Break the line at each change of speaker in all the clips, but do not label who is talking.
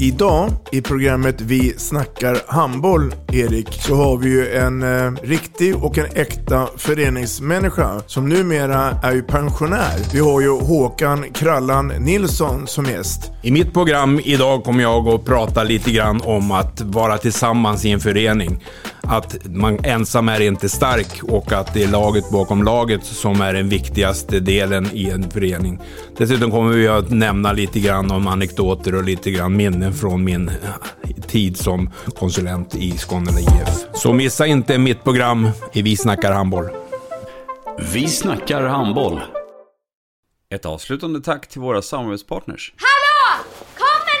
Idag i programmet Vi snackar handboll, Erik, så har vi ju en eh, riktig och en äkta föreningsmänniska som numera är ju pensionär. Vi har ju Håkan Krallan Nilsson som gäst.
I mitt program idag kommer jag att prata lite grann om att vara tillsammans i en förening. Att man ensam är inte stark och att det är laget bakom laget som är den viktigaste delen i en förening. Dessutom kommer vi att nämna lite grann om anekdoter och lite grann minnen från min eh, tid som konsulent i Skåne IF. Så missa inte mitt program i Vi snackar handboll.
Vi snackar handboll. Ett avslutande tack till våra samarbetspartners.
Hallå! Kommer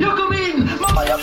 Jag kom in! Mamma, jag